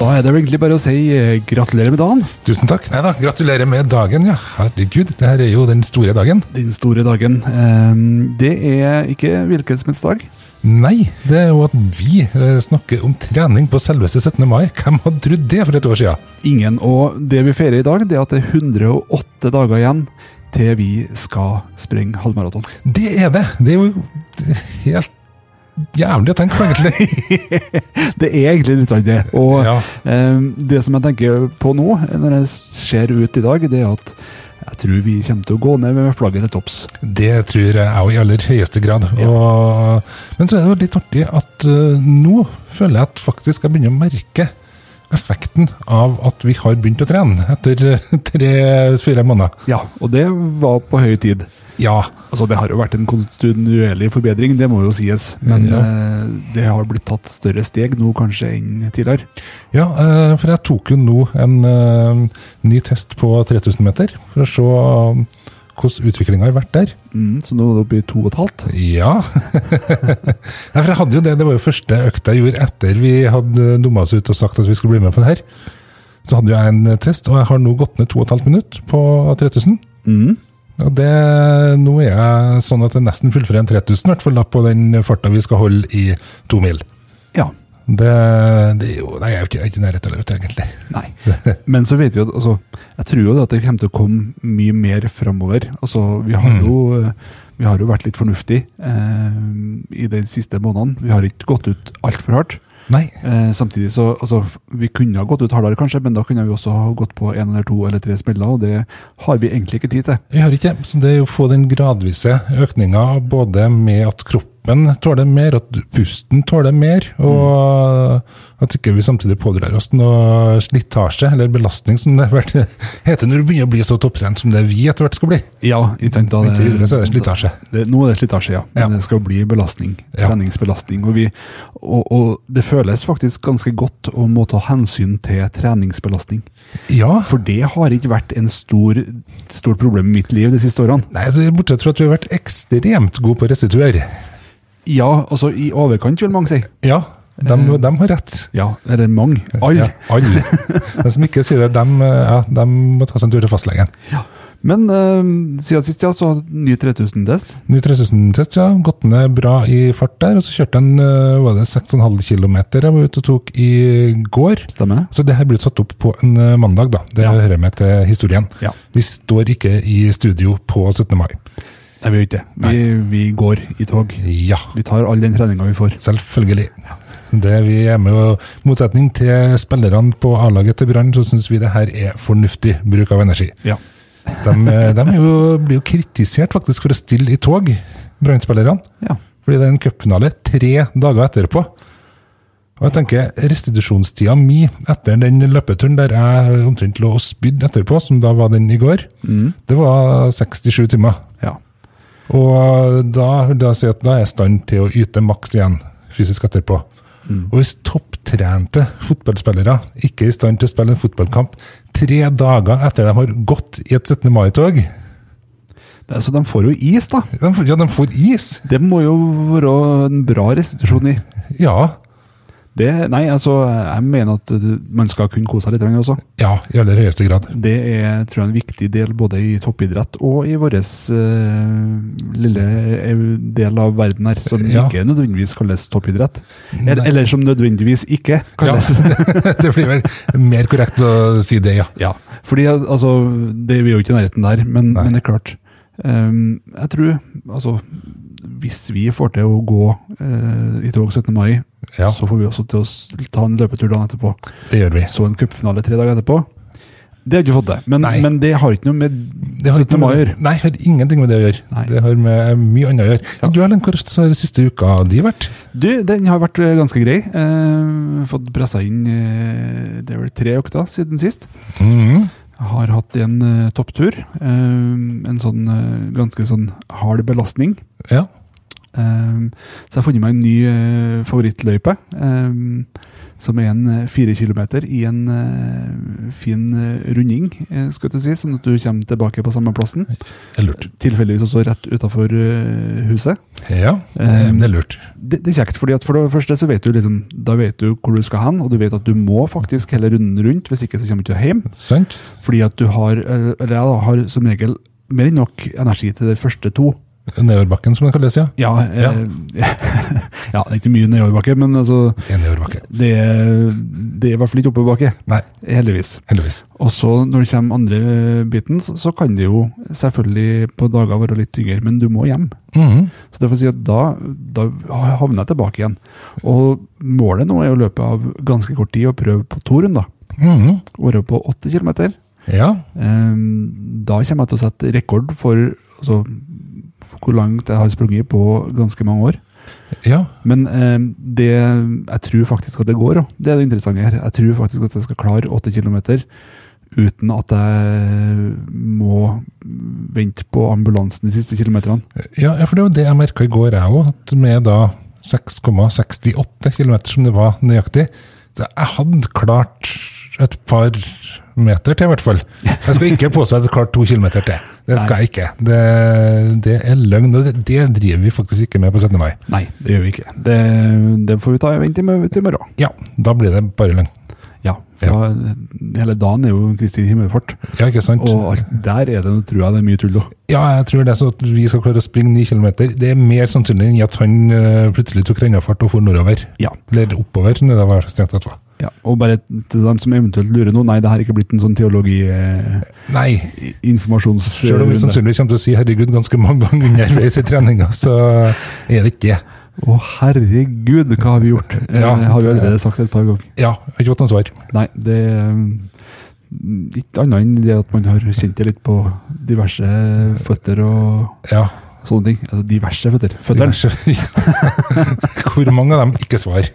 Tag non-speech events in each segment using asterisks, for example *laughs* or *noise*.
Da er det vel egentlig bare å si eh, gratulerer med dagen. Tusen takk. Nei da, gratulerer med dagen, ja. Herregud, det her er jo den store dagen. Den store dagen. Eh, Det er ikke hvilken som helst dag. Nei, det er jo at vi eh, snakker om trening på selveste 17. mai. Hvem hadde trodd det for et år siden? Ingen. Og det vi feirer i dag, det er at det er 108 dager igjen til vi skal springe halvmaraton. Det er det! Det er jo helt jævlig å tenke på, egentlig. Det er egentlig litt av det. *laughs* Og Ja. eh, det som jeg tenker på nå, når jeg ser ut i dag, det er at jeg tror vi kommer til å gå ned med flagget til topps. Det tror jeg òg i aller høyeste grad. Ja. Og, men så er det jo litt artig at eh, nå føler jeg at faktisk jeg begynner å merke effekten av at vi har begynt å trene etter tre-fire måneder. Ja, og det var på høy tid. Ja, Altså, det har jo vært en kontinuerlig forbedring, det må jo sies. Men Ja. eh, det har blitt tatt større steg nå kanskje enn tidligere. Ja, eh, for jeg tok jo nå en eh, ny test på 3000 meter, for å se eh, hvordan utviklinga har vært der. Mm, så nå er det oppe i to og et halvt. Ja. *laughs* Nei, for jeg hadde jo det, det var jo første økta jeg gjorde etter vi hadde dumma oss ut og sagt at vi skulle bli med på det her. Så hadde jo jeg en eh, test, og jeg har nå gått ned 2,5 minutter på 3000. Mm. Og det, nå er jeg sånn at jeg nesten fullfører en 3000, i hvert fall da på den farta vi skal holde i to mil. Ja. Det, det er jo Nei, jeg er jo ikke, jeg er ikke i nærheten av det, vet jeg, egentlig. *laughs* Nei. Men så vet vi jo at altså, Jeg tror jo det at det kommer til å komme mye mer framover. Altså, vi har jo eh, vi har jo vært litt fornuftige eh, i de siste månedene. Vi har ikke gått ut altfor hardt. Nei. Eh, samtidig så altså, Vi kunne ha gått ut hardere, kanskje, men da kunne vi også ha gått på én eller to eller tre smeller, og det har vi egentlig ikke tid til. Vi har ikke, så det er jo å få den gradvise økninga, både med at kroppen tåler mer, at pusten tåler mer, og at ikke vi samtidig pådrar oss noe slitasje eller belastning, som det har vært, heter når du begynner å bli så topptrent som det vi etter hvert skal bli. Ja, ikke sant, da Inntil videre så er det slitasje. Det, nå er det slitasje, ja. Men Ja. det skal bli belastning. Ja. Treningsbelastning. Og, vi, og, og det føles faktisk ganske godt å må ta hensyn til treningsbelastning. Ja. For det har ikke vært en stor, stort problem i mitt liv de siste årene. Nei, så Bortsett fra at vi har vært ekstremt gode på restitur. Ja, altså i overkant, vil mange si. Ja, de, de har rett. Ja, eller mange. Alle. Ja, alle. De som ikke sier det, de, ja, de må ta seg en tur til fastlegen. Men eh, siden sist, ja, så har jeg ny 3000-test. Ny 3000-test, ja. Gått ned bra i fart der. Og så kjørte han øh, var det 6,5 km jeg var ute og tok i går. Stemmer? Så det her blir satt opp på en øh, mandag, da. Det Ja. hører med til historien. Ja. Vi står ikke i studio på 17. mai. Nei, vi gjør ikke det. Vi, vi går i tog. Ja, Vi tar all den treninga vi får. selvfølgelig. Det vi er med og motsetning til spillerne på A-laget til Brann, så syns vi det her er fornuftig bruk av energi. Ja. De, øh, de er jo, blir jo kritisert faktisk for å stille i tog, Brann-spillerne. ja. Fordi det er en cupfinale tre dager etterpå. Og jeg tenker restitusjonstida mi etter den løpeturen der jeg omtrent lå og spydde etterpå, som da var den i går, det var 67 timer. Mm. ja. Og da vil jeg si at da er jeg i stand til å yte maks igjen fysisk etterpå. Og hvis topptrente fotballspillere ikke er i stand til å spille en fotballkamp tre dager etter de har gått i et 17. mai-tog Det er- Så de får jo is, da. de, får- Ja, de får is! Det må jo være en bra restitusjon i. Ja. Det, nei, altså, jeg mener at du- man skal kunne kose seg litt grann også. Ja, i aller høyeste grad. Det er tror jeg, en viktig del både i toppidrett og i vår lille eh, del av verden her, som Ja. ikke nødvendigvis kalles toppidrett. Eller, eller som nødvendigvis ikke kalles. Ja, det *laughs* blir vel mer korrekt å si det, ja. Ja. Fordi altså, det, vi er jo ikke i nærheten der, men, Nei. men det er klart. Ehm, jeg tror altså, hvis vi får til å gå eh, i tog 17. mai, Ja, så får vi også til å s- ta en løpetur dagen etterpå. det gjør vi. Så en cupfinale tre dager etterpå. Det har ikke fått det, men, Nei. men det har ikke noe med Det 17. mai å gjøre. Nei, har ingenting med det å gjøre. Nei. Det har med mye annet å gjøre. Du, Erlend, hvordan har den siste uka di vært? Du, den har vært eh, ganske grei. Eh, fått pressa inn eh, det er vel tre økter siden sist. Jeg har hatt en eh, topptur. Eh, en sånn eh, ganske sånn hard belastning. Ja. Ehm, så jeg har funnet meg en ny eh, favorittløype. ehm, som er en eh, fire kilometer i en eh, fin eh, runding, eh, skal jeg til å si, sånn at du kommer tilbake på samme plassen. Det er lurt. Tilfeldigvis også rett utafor huset. Ja, Eh, det er lurt. Det, det er kjekt, fordi at for det første så vet du liksom, da vet du hvor du skal hen, og du vet at du må faktisk hele runden rundt, hvis ikke så kommer du ikke hjem. Sant? Fordi at du har, eh, eller jeg da, har som regel mer enn nok energi til de første to. Nedoverbakken, som det kalles, ja. Ja, Ja. eh, *laughs* ja det er ikke mye nedoverbakke, men altså, En nedoverbakke. det, er- det er i hvert fall ikke oppoverbakke, Nei, heldigvis. heldigvis. Og så når det kommer andre biten, så, så kan det jo selvfølgelig på dager være litt tyngre, men du må hjem. Mhm. Så det får si at da, da havner jeg tilbake igjen. Og målet nå er å løpe av ganske kort tid og prøve på to runder. Mhm. Være på åtte kilometer. Ja, Ehm, Da kommer jeg til å sette rekord for, altså, for hvor langt jeg har sprunget på ganske mange år. ja. Men ehm, det, jeg tror faktisk at det går. også. Det er det interessante her. Jeg tror faktisk at jeg skal klare åtte kilometer uten at jeg må vente på ambulansen de siste kilometerne. Ja, ja, for det var det jeg merka i går, jeg òg. Med da 6,68 km som det var nøyaktig. Så jeg hadde klart et par meter til, i hvert fall. Jeg skal ikke påstå at jeg hadde klart to kilometer til. Det skal jeg ikke. Det, det er løgn. Og det, det driver vi faktisk ikke med på 17. mai. Nei, det gjør vi ikke. Det, det får vi ta og vente til i morgen. Ja, da blir det bare løgn. Ja, for eh, hele dagen er jo Kristin himmelfart, Ja, ikke sant? og alt der er det, tror jeg det er mye tull. da. Ja, jeg tror det er sånn at vi skal klare å springe 9 km. Det er mer sannsynlig enn at han eh, plutselig tok rennafart og for nordover. Ja. Eller oppover, som det da var strengt tatt var. ja. Og bare til dem som eventuelt lurer nå, nei, det her er ikke blitt en sånn eh, teologi-informasjons... Nei, Selv om Å, vi sannsynligvis kommer til å si 'herregud' ganske mange ganger underveis i treninga, så er det ikke det. herregud, hva har vi gjort? *laughs* Ja. det har vi allerede sagt et par ganger. Ja, jeg har ikke fått noe svar. Nei, det er mm, ikke annet enn det at man har kjent det litt på diverse føtter og Ja, sånne ting. Altså diverse føtter. det Føtter. er ikke- *laughs* Hvor mange av dem ikke svar?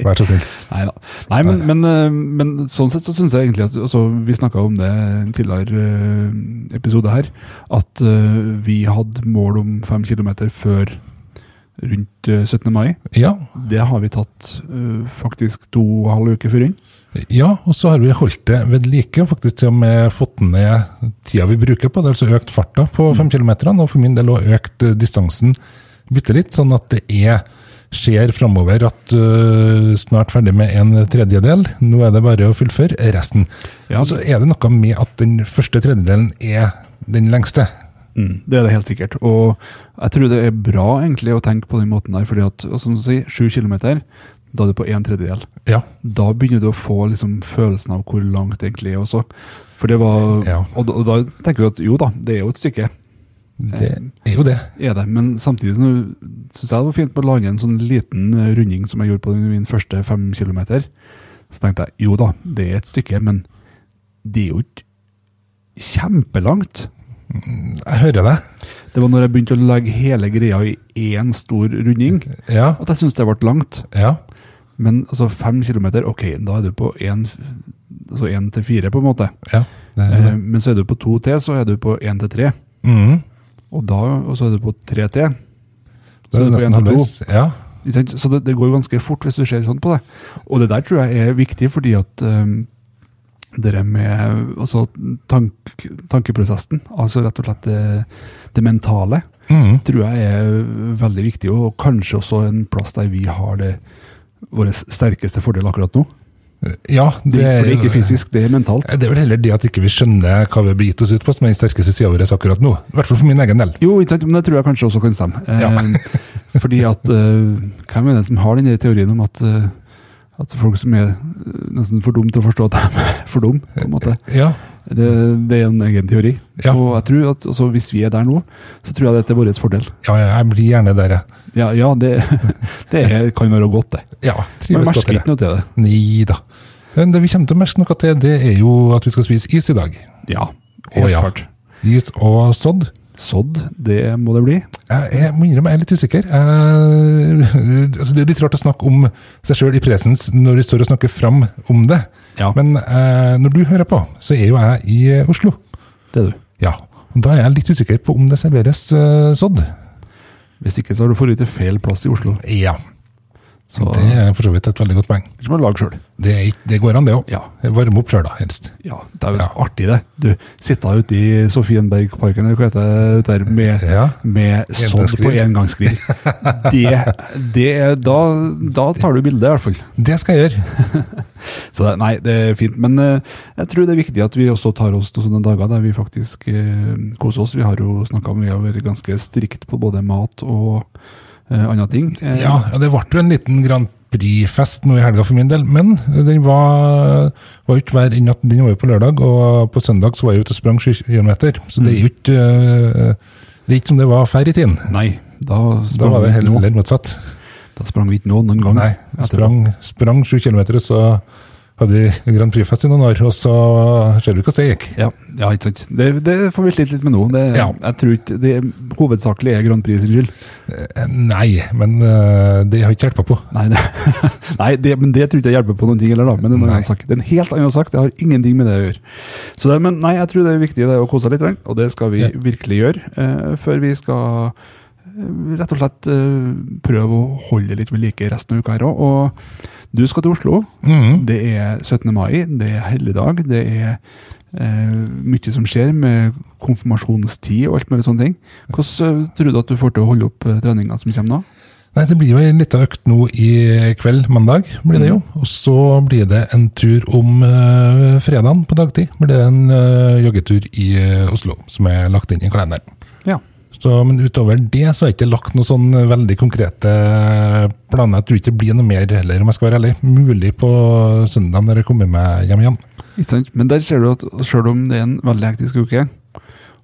Vær så snill. *laughs* Nei da. Nei, men, men, eh, men sånn sett så syns jeg egentlig at altså, Vi snakka om det i en tidligere eh, episode her, at eh, vi hadde mål om fem kilometer før rundt eh, 17. mai. Ja, Det har vi tatt eh, faktisk to og en halv uke før inn. ja og så har vi holdt det ved like, og faktisk til og med fått ned tida vi bruker på det, altså økt farta på femkilometerne, og for min del også økt eh, distansen bitte litt, sånn at det er skjer framover at eh, snart ferdig med en tredjedel. Nå er det bare å fullføre resten. Ja, altså, Og så er det noe med at den første tredjedelen er den lengste. Mm, det er det helt sikkert. Og jeg tror det er bra egentlig å tenke på den måten der, fordi at og som du sier, sju kilometer, da er du på en tredjedel. Ja. Da begynner du å få liksom, følelsen av hvor langt det egentlig er også. For det var, Ja. og, da, og da tenker du at jo da, det er jo et stykke, eh, Det er jo det. er det. Men samtidig syns jeg det var fint å lage en sånn liten eh, runding som jeg gjorde på den- min første fem kilometer. Så tenkte jeg jo da, det er et stykke, men det er jo ikke kjempelangt. Jeg hører deg. Det var når jeg begynte å legge hele greia i én stor runding, Ja. at jeg syntes det ble langt. ja. Men altså fem kilometer, ok, da er du på én altså en til fire, på en måte. ja. Det er jo Eh, det. men så er du på to til, så er du på én til tre. Mhm. Og, da, og så er du på tre til. Da er Så det det er på en til nesten to. halvveis. Ja. Ikke sant? Så det, det går jo ganske fort hvis du ser sånn på det. Og det der tror jeg er viktig, fordi at um, det der med altså, tank, tankeprosessen, altså rett og slett det, det mentale, Mhm. tror jeg er veldig viktig, og kanskje også en plass der vi har det vår sterkeste fordel akkurat nå. ja Det, er for det er jo- ikke fysisk, det er mentalt. Det er vel heller det at ikke vi skjønner hva vi har begitt oss ut på, som er den sterkeste sida vår akkurat nå. I hvert fall for min egen del. Jo, ikke sant, men det tror jeg kanskje også kan stemme. Ja. Eh, *laughs* fordi at eh, hvem er det som har den der teorien om at, eh, at folk som er eh, nesten for dumme til å forstå at de er for dumme, på en måte. Ja. Det, det er en egen teori. Ja. Og jeg tror at altså, hvis vi er der nå, så tror jeg dette er vår fordel. ja, ja, jeg blir gjerne der, jeg. Ja, ja det, *laughs* det er, kan være godt, det. Ja, Man trives godt merker i det. ikke noe til det. Nei da. Men det vi kommer til å merke noe til, det er jo at vi skal spise is i dag. Ja, Å, helt ja. klart. Is og sodd. Sådd, det må det bli. Jeg, jeg må innrømme jeg er litt usikker. Jeg, altså det er litt rart å snakke om seg sjøl i presens når vi står og snakker fram om det. Ja, Men eh, når du hører på, så er jo jeg i eh, Oslo. det er du. Ja, og Da er jeg litt usikker på om det serveres eh, sodd. Hvis ikke så har du fått til feil plass i Oslo. Ja. Så Det er for så vidt et veldig godt poeng. som å lage sjøl. Det, er ikke- det går an, det òg. Ja. Varme opp sjøl, da, helst. ja, det er jo Ja. artig, det. Du sitter ute i Sofienbergparken eller hva heter det ute der, med, Ja. med sådd på engangsgrill. Det, det er, da, da tar du bildet, i hvert fall. Det skal jeg gjøre. Så det- nei, det er fint. Men eh, jeg tror det er viktig at vi også tar oss til sånne dager der vi faktisk eh, koser oss. Vi har jo snakka om vi har vært ganske strikt på både mat og eh, andre ting. Eh, Ja, ja, Det ble jo en liten Grand Prix-fest nå i helga for min del, men den var, var jo ikke hver natt. Den var jo på lørdag, og på søndag så var jeg ute og sprang 20 km. Så det er Mm. jo ikke eh, Det er ikke som det var før i tiden. Nei, da Da sprang, var det vi, ikke nå. heller motsatt. da sprang vi ikke nå noen gang. Nei, jeg sprang, sprang 7 km, og så hadde vi Grand Prix-fest i noen år, og så ser du hvordan det gikk. Ja, ja, ikke sant. Det, det får vi slite litt med nå. Det, Ja. Jeg tror ikke det hovedsakelig er Grand Prix sin skyld. Eh, Nei, men eh, det har ikke hjelpa på. Nei, det, *laughs* nei det, men det tror ikke jeg hjelper på noen ting heller, da. Men det er, en Nei. annen sak. det er en helt annen sak. Det har ingenting med det å gjøre. Så det, men nei, jeg tror det er viktig det, å kose seg litt, Rang, og det skal vi Ja. virkelig gjøre. Eh, før vi skal eh, rett og slett eh, prøve å holde det litt ved like resten av uka her òg. Og du skal til Oslo. Mhm. Det er 17. mai, det er helligdag, det er eh, mye som skjer med konfirmasjonstid og alt mulig sånne ting. Hvordan eh, tror du at du får til å holde opp eh, treninga som kommer nå? Nei, Det blir jo en liten økt nå i kveld, mandag. blir det jo. Og så blir det en tur om eh, fredagen på dagtid. blir det en eh, joggetur i eh, Oslo, som er lagt inn i kalenderen. Ja. Så, men utover det så har jeg ikke lagt noen sånn veldig konkrete eh, planer. Jeg tror ikke det blir noe mer heller, om jeg skal være ærlig. Mulig på søndag når jeg kommer meg hjem igjen. Ikke sant? Men der ser du at selv om det er en veldig hektisk uke,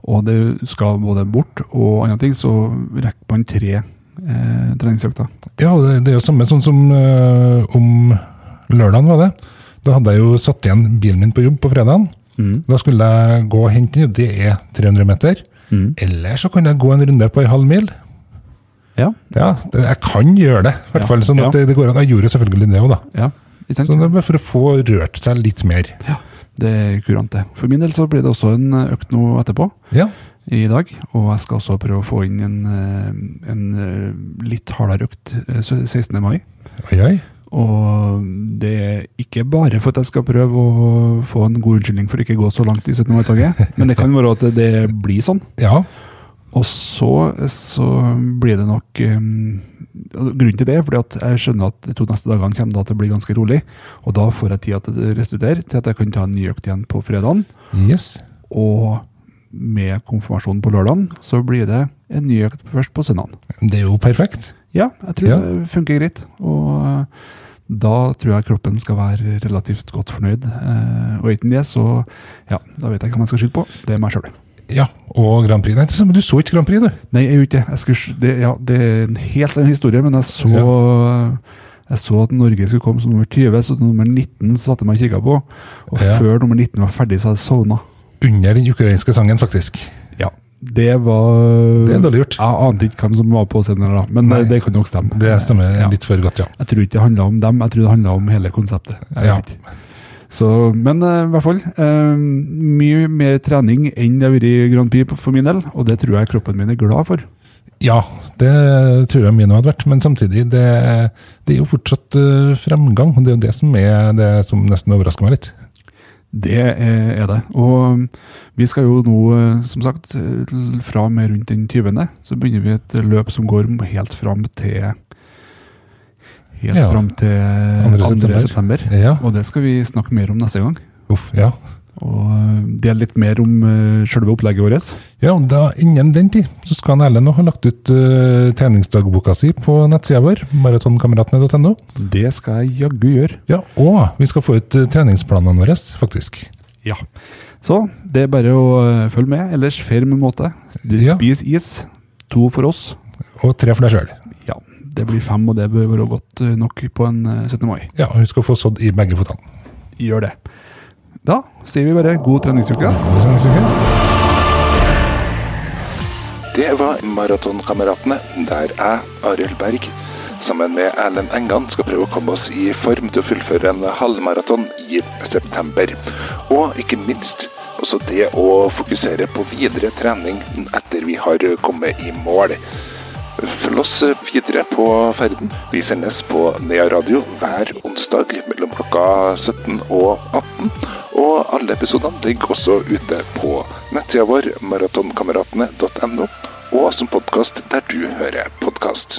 og det skal både bort og andre ting, så rekker man tre eh, treningsøkter. Ja, det, det er jo samme sånn som eh, om lørdagen, var det. Da hadde jeg jo satt igjen bilen min på jobb på fredagen. Da skulle jeg gå og hente den, det er 300 meter. Mm. Eller så kan jeg gå en runde på en halv mil. Ja, Ja, det, jeg kan gjøre det, i hvert Ja, fall. sånn at ja. det, det går an. Jeg gjorde selvfølgelig det òg, da. ja. Ikke sant? Så det er bare for å få rørt seg litt mer. Ja, det er kurant det. For min del så blir det også en økt nå etterpå. Ja, i dag, og jeg skal også prøve å få inn en, eh, en eh, litt hardere økt eh, så 16. mai. oi, oi. Og det er ikke bare for at jeg skal prøve å få en god unnskyldning for ikke å gå så langt i 17. mai-toget, men det kan være at det blir sånn. Ja, Og så, så blir det nok eh, Grunnen til det er fordi at jeg skjønner at de to neste dagene kommer da til å bli ganske rolig, og da får jeg tid til å restituere, til at jeg kan ta en ny økt igjen på fredagen. yes. Og med konfirmasjonen på lørdagen, så blir det en ny økt først på søndagen. Det er jo perfekt. Ja, jeg tror Ja. det funker greit. Og eh, da tror jeg kroppen skal være relativt godt fornøyd. Eh, Og uten det, så ja, da vet jeg ikke hva man skal skylde på. Det er meg sjøl. Ja, og Grand Prix. Nei, det er samme, du så ikke Grand Prix, du. Nei, jeg er jo ikke det. Jeg skulle s- det. Ja, det er en helt annen historie, men jeg så Jeg så at Norge skulle komme som nummer 20, så nummer 19 satte jeg meg og kikka på. Og Ja. før nummer 19 var ferdig, så hadde jeg sovna. Under den ukrainske sangen, faktisk. Ja, det var Det er dårlig gjort. Jeg ante ikke hvem som var på scenen, da, men Nei. det kan nok stemme. Det stemmer Ja. litt for godt, ja. Jeg tror ikke det handla om dem, jeg tror det handla om hele konseptet. Jeg vet Ja. ikke. Så, men eh, i hvert fall, eh, mye mer trening enn det har vært i Grand Prix på- for min del, og det tror jeg kroppen min er glad for. Ja, det tror jeg mine hadde vært. Men samtidig, det, det er jo fortsatt eh, fremgang. og Det er jo det som er det som nesten overrasker meg litt. Det eh, er det. Og mm, vi skal jo nå, eh, som sagt, eh, l- fra og med rundt den 20., så begynner vi et løp som går m- helt fram til Helt Ja. fram til 2. september. september. september. Ja, Og det skal vi snakke mer om neste gang. uff, ja. Og eh, dele litt mer om eh, selve opplegget vårt. ja og da, innen den tid så skal han Erlend nå ha lagt ut eh, treningsdagboka si på nettsida vår, maratonkameratene.no. Det skal jeg jaggu gjøre. Ja, og vi skal få ut eh, treningsplanene våre, faktisk. Ja. Så det er bare å eh, følge med. Ellers feir med måte. De- Ja. Spis is. To for oss. Og tre for deg sjøl. Ja, det blir fem, og det bør være godt eh, nok på en eh, 17. mai. Ja, og hun skal få sådd i begge føttene. Gjør det. Da sier vi bare god treningsuke. Er det sånn, sikkert? Det var Maratonkameratene, der jeg, Arild Berg, sammen med Erlend Engan skal prøve å komme oss i form til å fullføre en halvmaraton i september. Og ikke minst også det å fokusere på videre trening etter vi har kommet i mål. Følg oss eh, videre på ferden. Vi sendes på Nea Radio hver onsdag mellom klokka 17 og 18. Og alle episodene ligger også ute på nettsida vår maratonkameratene.no, og som podkast der du hører podkast.